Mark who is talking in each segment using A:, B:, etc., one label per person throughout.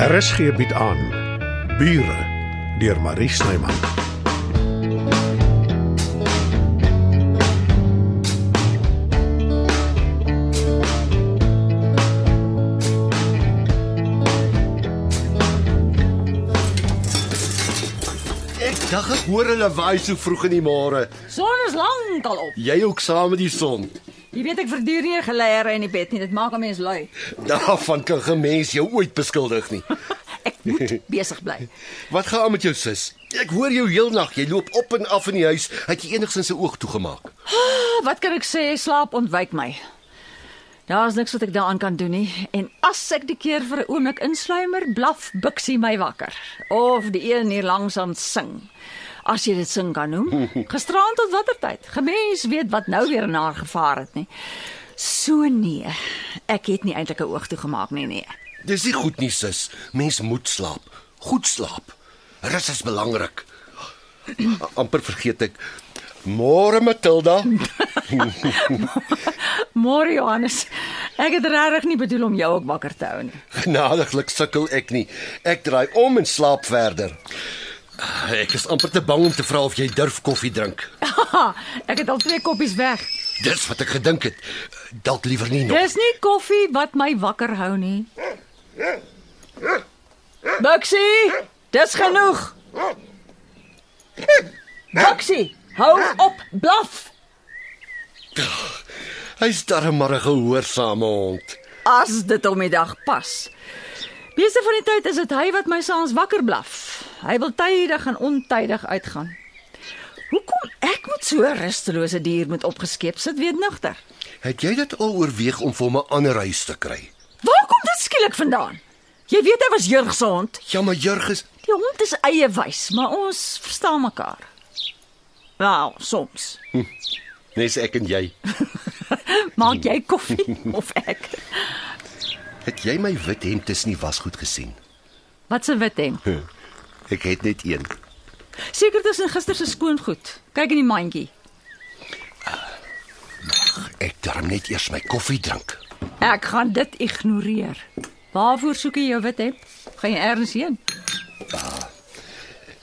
A: RSG bied aan Bure deur Marie Snyman.
B: Ek dink ek hoor hulle waai so vroeg in die môre.
C: Son is lankal op.
B: Jy ook saam met die son.
C: Jy weet ek verduur nie geleere in die bed nie. Dit maak 'n mens lui.
B: Daarvan kan geen mens jou ooit beskuldig nie.
C: Ek moet besig bly.
B: Wat gaan aan met jou sis? Ek hoor jou heelnag. Jy loop op en af in die huis. Het jy enigstens 'n oog toegemaak?
C: Ah, Wat kan ek sê? Slaap ontwyk my. Daar's niks wat ek daaraan kan doen nie. En as ek die keer vir 'n oomblik insluimer, blaf Bixie my wakker. Of die een hier langs aan sing. As jy dit sing kan noem. Gisteraand tot watter tyd? Gemens weet wat nou weer in haar gevaar het nie. So nee. Ek het nie eintlik 'n oog toe gemaak nie, nee.
B: Dis nie goed nie, sis. Mens moet slaap. Goed slaap. Rus is belangrik. A- Amper vergeet ek. Môre Matilda.
C: Môre Johannes. Ek het regtig nie bedoel om jou ook wakker te hou nie.
B: Genadiglik sukkel ek nie. Ek draai om en slaap verder. Ek is amper te bang om te vra of jy durf koffie drink.
C: Haha, ek het al twee koppies weg.
B: Dis wat ek gedink het. Dalk liewer nie nog.
C: Dis nie koffie wat my wakker hou nie. Buxie, dis genoeg. Buxie, hou op blaf.
B: Hy's darem maar 'n gehoorsame hond.
C: As dit om die dag pas. Meeste van die tyd is dit hy wat my saans wakker blaf. Hy wil tydig en ontydig uitgaan. Hoekom ek met so 'n rustelose dier moet opgeskep sit, weet nigter.
B: Het jy dit al oorweeg om vir hom 'n ander huis te kry?
C: Waar kom dit skielik vandaan? Jy weet hy was jeug se hond.
B: Ja, maar Jurgis,
C: Die hond is eie wys, maar ons verstaan mekaar. Wel, soms.
B: nes ek en jy.
C: Maak jy koffie of ek?
B: Het jy my wit hemp tussen die wasgoed gesien?
C: Wat se wit hem?
B: Ek het net een.
C: Seker tussen gister se skoon goed. Kyk in die mandjie.
B: Ek darm net eers my koffie drink.
C: Ek gaan dit ignoreer. Waarvoor soek jy jou wit hemp? Gaan jy ergens heen?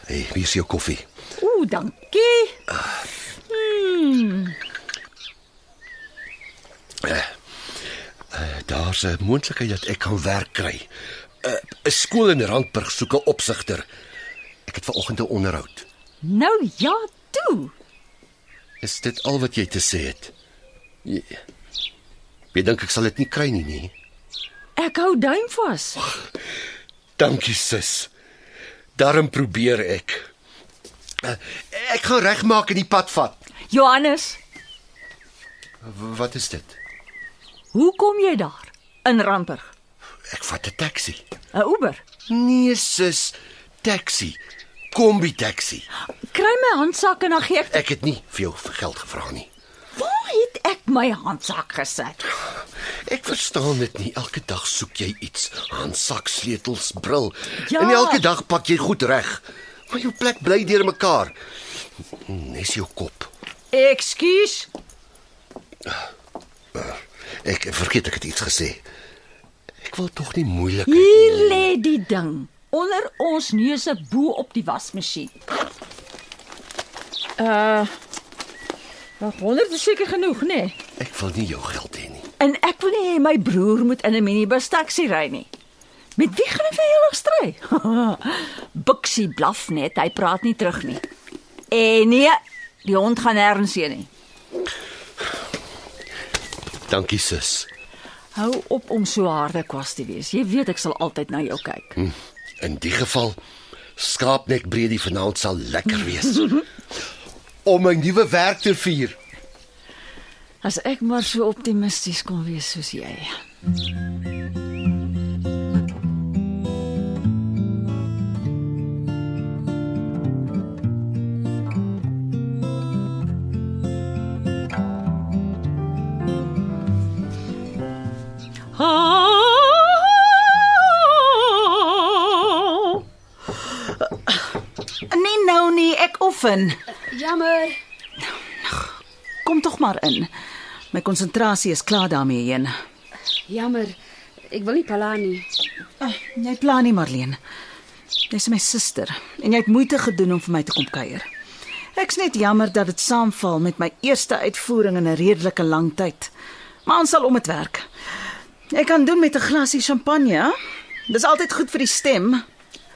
B: Hey, wie is jou koffie?
C: Ooh, dankie.
B: Uh, uh, Daar's 'n moontlikheid dat ek kan werk kry. 'n uh, 'n Skool in Randburg soek 'n opsigter. Ek het vanoggend 'n onderhoud.
C: Nou ja, toe.
B: Is dit al wat jy te sê het? Jy, jy dink ek sal dit nie kry nie nee? nie.
C: Ek hou duim vas.
B: Dankie sis. Daarom probeer ek. Eh, Ek gaan regmaak en die pad vat.
C: Johannes,
B: W- Wat is dit?
C: hoe kom jy daar in Randburg?
B: Ek vat 'n taxi.
C: 'n Uber.
B: Nee sis, taxi. Kombi taxi.
C: Kry my handsak en dan gee ek
B: Ek het nie vir jou vir geld gevra nie.
C: Waar het ek my handsak gesit?
B: Ek verstaan dit nie. Elke dag soek jy iets. Handsak, sleutels, bril.
C: Ja.
B: En elke dag pak jy goed reg. Maar jou plek bly deurmekaar. Nes jou kop.
C: Ekskuus.
B: Ek vergeet ek het iets gesê. Ek wil tog nie moeilik.
C: Hier lê die ding onder ons neuse bo op die wasmasjien. Uh Nog 100 is seker genoeg, nê? Nee?
B: Ek wil nie jou geld hê nie.
C: En ek wil nie hê my broer moet in 'n minibus taxi ry nie. Met wie gaan ek veilig stry? Bixie blaf net, hy praat nie terug nie. En nee, die hond gaan nêrens heen nie.
B: Dankie sis.
C: Hou op om so harde kwas te wees. Jy weet ek sal altyd na jou kyk.
B: Hm, In die geval skaapnek breedie vanaand sal lekker wees. Om my nuwe werk te vier.
C: As ek maar so optimisties kon wees soos jy.
D: Nee nou nie, ek offen.
E: Jammer.
D: Kom tog maar in. My konsentrasie is klaar daarmee heen.
E: Jammer. Ek wil nie pala nie.
C: Ah, jy pla nie, Marlene. Dis my suster en jy het moeite gedoen om vir my te kom kuier. Ek's net jammer dat dit saamval met my eerste uitvoering in 'n redelike lang tyd. Maar ons sal om dit werk. Ek kan doen met 'n glasie champagne. hè? Dis altyd goed vir die stem.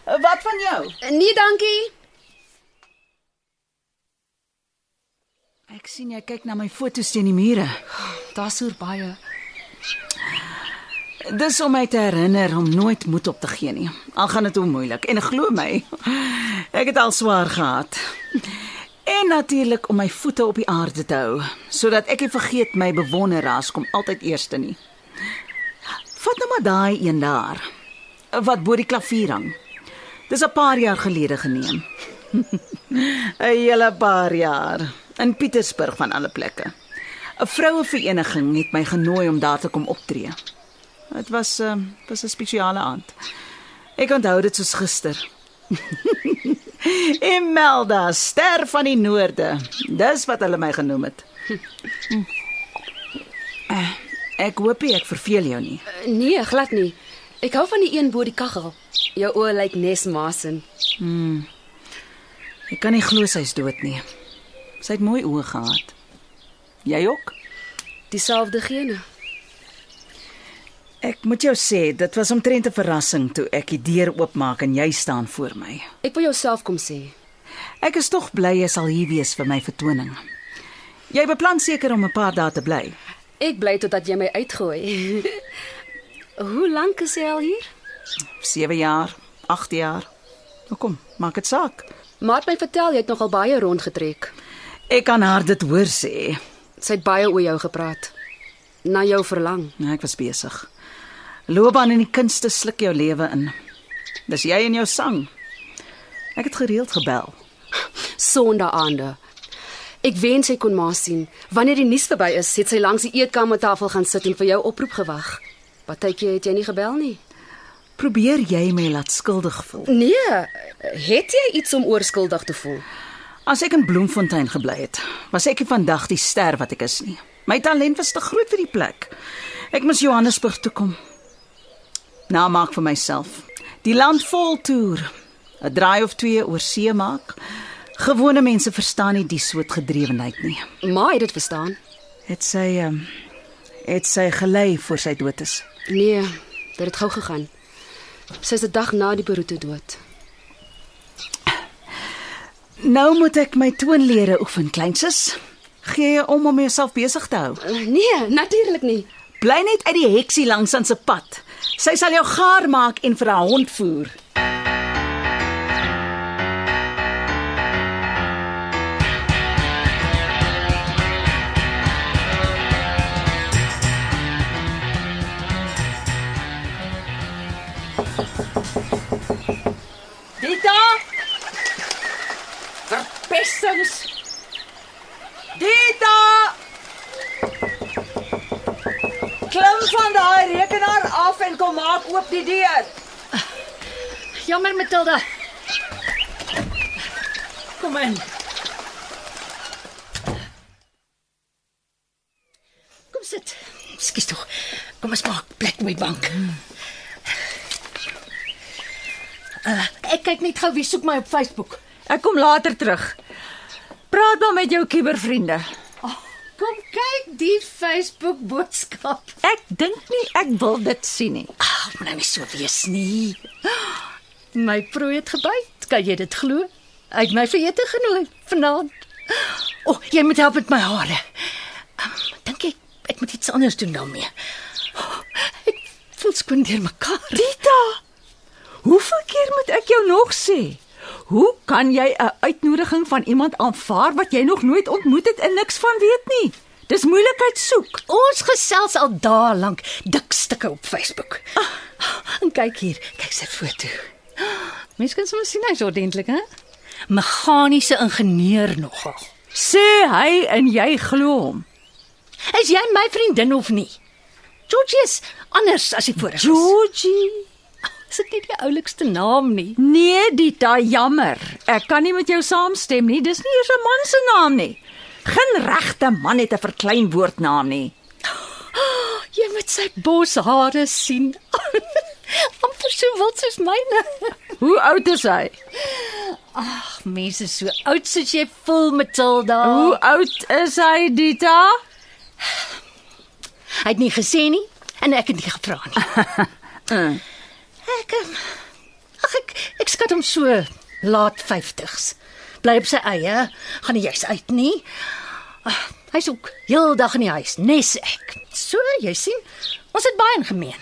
C: Wat van jou?
E: Nee, dankie.
C: Ek sien jy kyk na my foto's teen die mure.
E: Daar's oor baie.
C: Dis om my te herinner om nooit moed op te gee nie. Al gaan dit hoe moeilik en glo my, ek het al swaar gehad. En natuurlik om my voete op die aarde te hou, sodat ek nie vergeet my bewonderaars kom altyd eerste nie. Vat nou maar daai een daar wat bo die klavier hang. Dis 'n paar jaar gelede geneem. 'n Hele paar jaar in Pietersburg van alle plekke. 'n Vrouevereniging het my genooi om daar te kom optree. Dit was 'n uh, was 'n spesiale aand. Ek onthou dit soos gister. Imelda, ster van die noorde. Dis wat hulle my genoem het. Eh, Ek hoop nie ek verveel jou nie.
E: Nee, glad nie. Ek hou van die een bo die kaggel. Jou oë lyk nes masen.
C: Ek kan nie glo sy's dood nie. Sy het mooi oë gehad. Jy ook?
E: Dieselfde gene.
C: Ek moet jou sê, dit was omtrent 'n verrassing toe ek die deur oopmaak en jy staan voor my.
E: Ek wil jouself kom sê.
C: Ek is tog bly jy sal hier wees vir my vertoning. Jy beplan seker om 'n paar dae te bly.
E: Ek bly totdat jy my uitgooi. Hoe lank is jy al hier?
C: 7 jaar, 8 jaar. Nou kom, maak dit saak.
E: Maar het my vertel jy het nogal baie rondgetrek.
C: Ek kan haar dit hoor sê.
E: Sy het baie oor jou gepraat. Na jou verlang.
C: Nou ek was besig. Loopbaan in die kunste sluk jou lewe in. Dis jy en jou sang. Ek het gereeld gebel.
E: Sondagaande. Ek wens hy kon maar sien. Wanneer die nuus verby is, het sy langs die eetkamertafel gaan sit en vir jou oproep gewag. Partytjie het jy nie gebel nie.
C: Probeer jy my laat skuldig voel.
E: Nee, het jy iets om oorskuldig te voel?
C: As ek in Bloemfontein gebly het, was ek nie vandag die ster wat ek is nie. My talent was te groot vir die plek. Ek moes Johannesburg toe kom. Nou maak vir myself. Die land vol toer. 'n Draai of twee oor see maak. Gewone mense verstaan nie die soort gedrewenheid nie.
E: Maar het dit verstaan?
C: Het sy ehm het sy gelei voor sy dood is.
E: Nee, dit het gou gegaan. Sy is 'n dag na die Beroete dood.
C: Nou moet ek my toonlere oefen, kleinsis. Gee jy om om jouself besig te hou.
E: Nee, natuurlik nie.
C: Bly net uit die heksie langs aan se pad. Sy sal jou gaar maak en vir haar hond voer.
F: Dita! Verpestings.
C: Dita!
F: Klim van daai rekenaar af en kom maak oop die deur.
E: Jammer Matilda.
F: Kom in.
G: Kom sit. Skus tog. Kom ons maak plek by die bank. Uh, ek kyk net gou wie soek my op Facebook.
F: Ek kom later terug. Praat maar met jou kubervriende.
G: Oh, kom kyk die Facebook boodskap.
F: Ek dink nie ek wil dit sien nie.
G: Ag, moet nou nie so wees nie. My prooi het gebyt. Kan jy dit glo? Hy het my vir ete genooi vanaand. O, oh, jy moet help met my hare. Um, Dink ek ek moet iets anders doen daarmee. Oh, ek voel skoon deur mekaar.
F: Dita, hoeveel keer moet ek jou nog sê? Hoe kan jy 'n uitnodiging van iemand aanvaar wat jy nog nooit ontmoet het en niks van weet nie? Dis moeilikheid soek.
G: Ons gesels al dae lank dik stukke op Facebook. Ah, en kyk hier, kyk sy foto. Mens kan sommer sien hy's ordentlik, hè? Meganiese ingenieur nogal.
F: Sê hy en jy glo hom.
G: Is jy my vriendin of nie? Georgie is anders as hy voorheen.
F: Georgie.
G: is dit nie die oulikste naam nie?
F: Nee, Dita, jammer. Ek kan nie met jou saamstem nie. Dis nie eers 'n man se naam nie. Geen regte man het 'n verkleinwoordnaam nie.
G: Jy my
H: moet sy boshare sien. amper so wild soos myne.
C: Hoe oud is hy?
H: Mense so oud soos jy voel, Matilda.
G: Oh.
C: Hoe oud is hy, Dita?
H: Hy het nie gesê nie en ek het nie gevra nie. ek ehm, Ag ek ek skat hom so laat 50s. Bly op sy eie, gaan nie juis uit nie. Ah, Hy's ook heeldag in die huis, nes ek. So, jy sien, ons het baie in gemeen.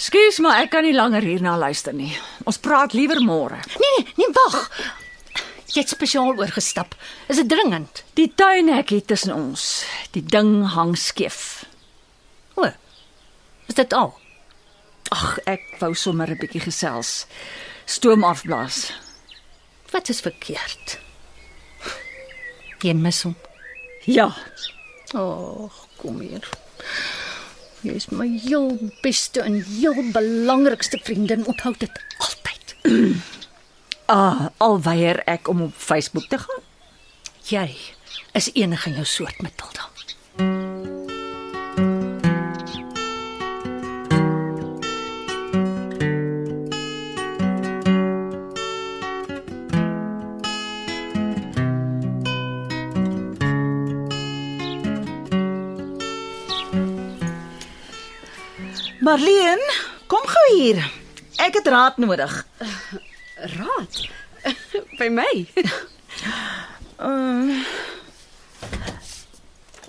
C: Skus, maar ek kan nie langer hierna luister nie. Ons praat liewer môre.
H: Nee nee, nee wag. Jy het spesiaal oorgestap. Is dit dringend?
C: Die tuinhekkie tussen ons, die ding hang skeef.
H: O. Is dit al?
C: Ag, ek wou sommer 'n bietjie gesels. Stoom afblaas.
H: Wat is verkeerd? Jy mis hom.
C: Ja,
H: Ag, kom hier. Jy is my heel beste en heel belangrikste vriendin. Onthou dit altyd.
C: ah, al weier ek om op Facebook te gaan.
H: Jy is enig in jou soort, Matilda.
D: Marleen, kom gou hier. Ek het raad nodig.
E: Raad by my.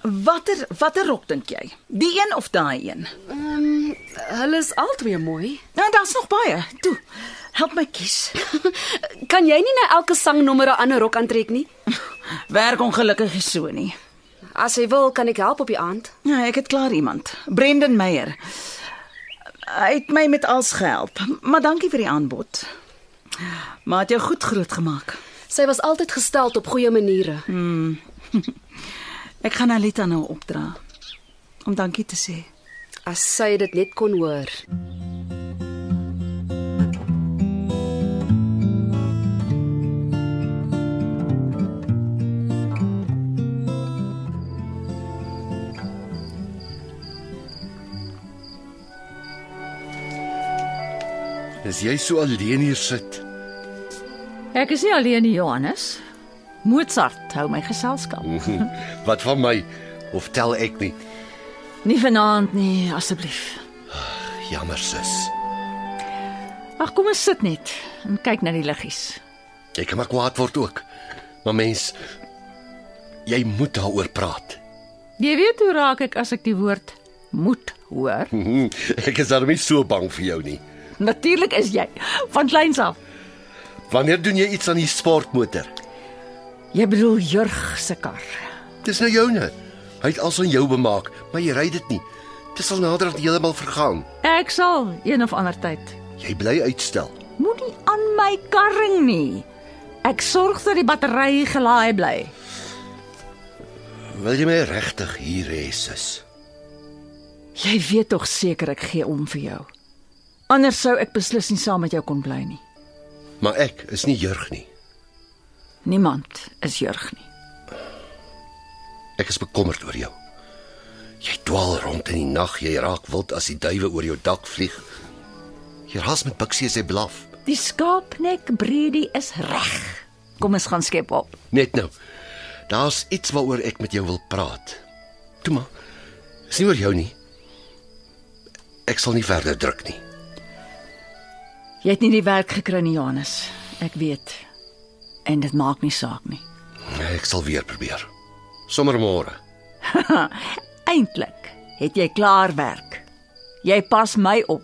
D: Watter watter rok dink jy? Die een of daai een?
E: Ehm hulle is albei mooi.
D: Nou daar's nog baie. Toe. Help my kies.
E: Kan jy nie na elke sangnommer 'n ander rok aantrek nie?
D: Werk ongelukkig is so nie.
E: As jy wil, kan ek help op die aand.
D: Ja, ek het klaar iemand. Brendan Meyer. Hy het my met alles gehelp, maar dankie vir die aanbod. Maar het jou goed grootgemaak.
E: Sy was altyd gestel op goeie maniere.
D: Ek gaan Alita nou opdra om dankie te sê.
E: As sy dit net kon hoor.
B: As jy so alleen hier sit,
C: Ek is nie alleen nie, Johannes. Mozart hou my geselskap.
B: wat van my? Of tel ek nie?
C: Nie vanaand nie, asseblief.
B: Jammer sis.
C: Ag, kom ons sit net en kyk na die liggies.
B: Jy kan maar kwaad word ook. Maar mens, jy moet daaroor praat.
C: Jy weet hoe raak ek as ek die woord moet hoor?
B: Mhm, Ek is daarmee so bang vir jou nie.
C: Natuurlik is jy van kleins af.
B: Wanneer doen jy iets aan die sportmotor?
C: Jy bedoel Jurg se kar.
B: Dis nou joune. Hy het alles aan jou bemaak, maar jy ry dit nie. Dis al nader dat heeltemal vergaan.
C: Ek sal een of ander tyd.
B: Jy bly uitstel.
C: Moenie aan my karring nie. Ek sorg dat die battery gelaai bly.
B: Wil jy my regtig hier hê, sis?
C: Jy weet tog seker ek gee om vir jou. Anders sou ek beslis nie saam met jou kon bly nie.
B: Maar ek is nie jurg nie.
C: Niemand is Jurg nie.
B: Ek is bekommerd oor jou. Jy dwaal rond in die nag, jy raak wild as die duwe oor jou dak vlieg. Jy ras met Bixie as hy blaf.
C: Die skaapnek breedie is reg. Kom ons gaan skep op.
B: Net nou. Daar's iets waaroor ek met jou wil praat. Toe maar. Dis nie oor jou nie. Ek sal nie verder druk nie.
C: Jy het nie die werk gekry nie, Johannes. Ek weet. En dit maak nie saak nie.
B: Ek sal weer probeer. Sommer môre.
C: Eintlik het jy klaar werk. Jy pas my op,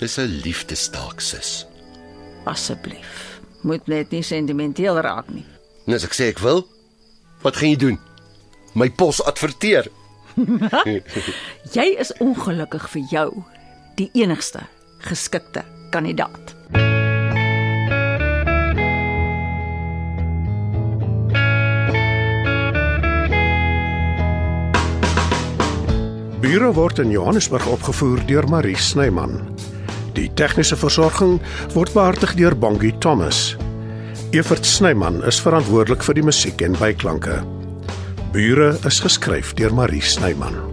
B: Dis 'n liefdestaak, sis.
C: asseblief. Moet net nie sentimenteel raak nie.
B: En as ek sê ek wil, wat gaan jy doen? My pos adverteer.
C: Jy is ongelukkig vir jou die enigste geskikte kandidaat.
A: Bure word in Johannesburg opgevoer deur Marie Snyman. Die tegniese versorging word behartig deur Bongie Thomas. Evert Snyman is verantwoordelik vir die musiek en byklanke. Bure is geskryf deur Marie Snyman.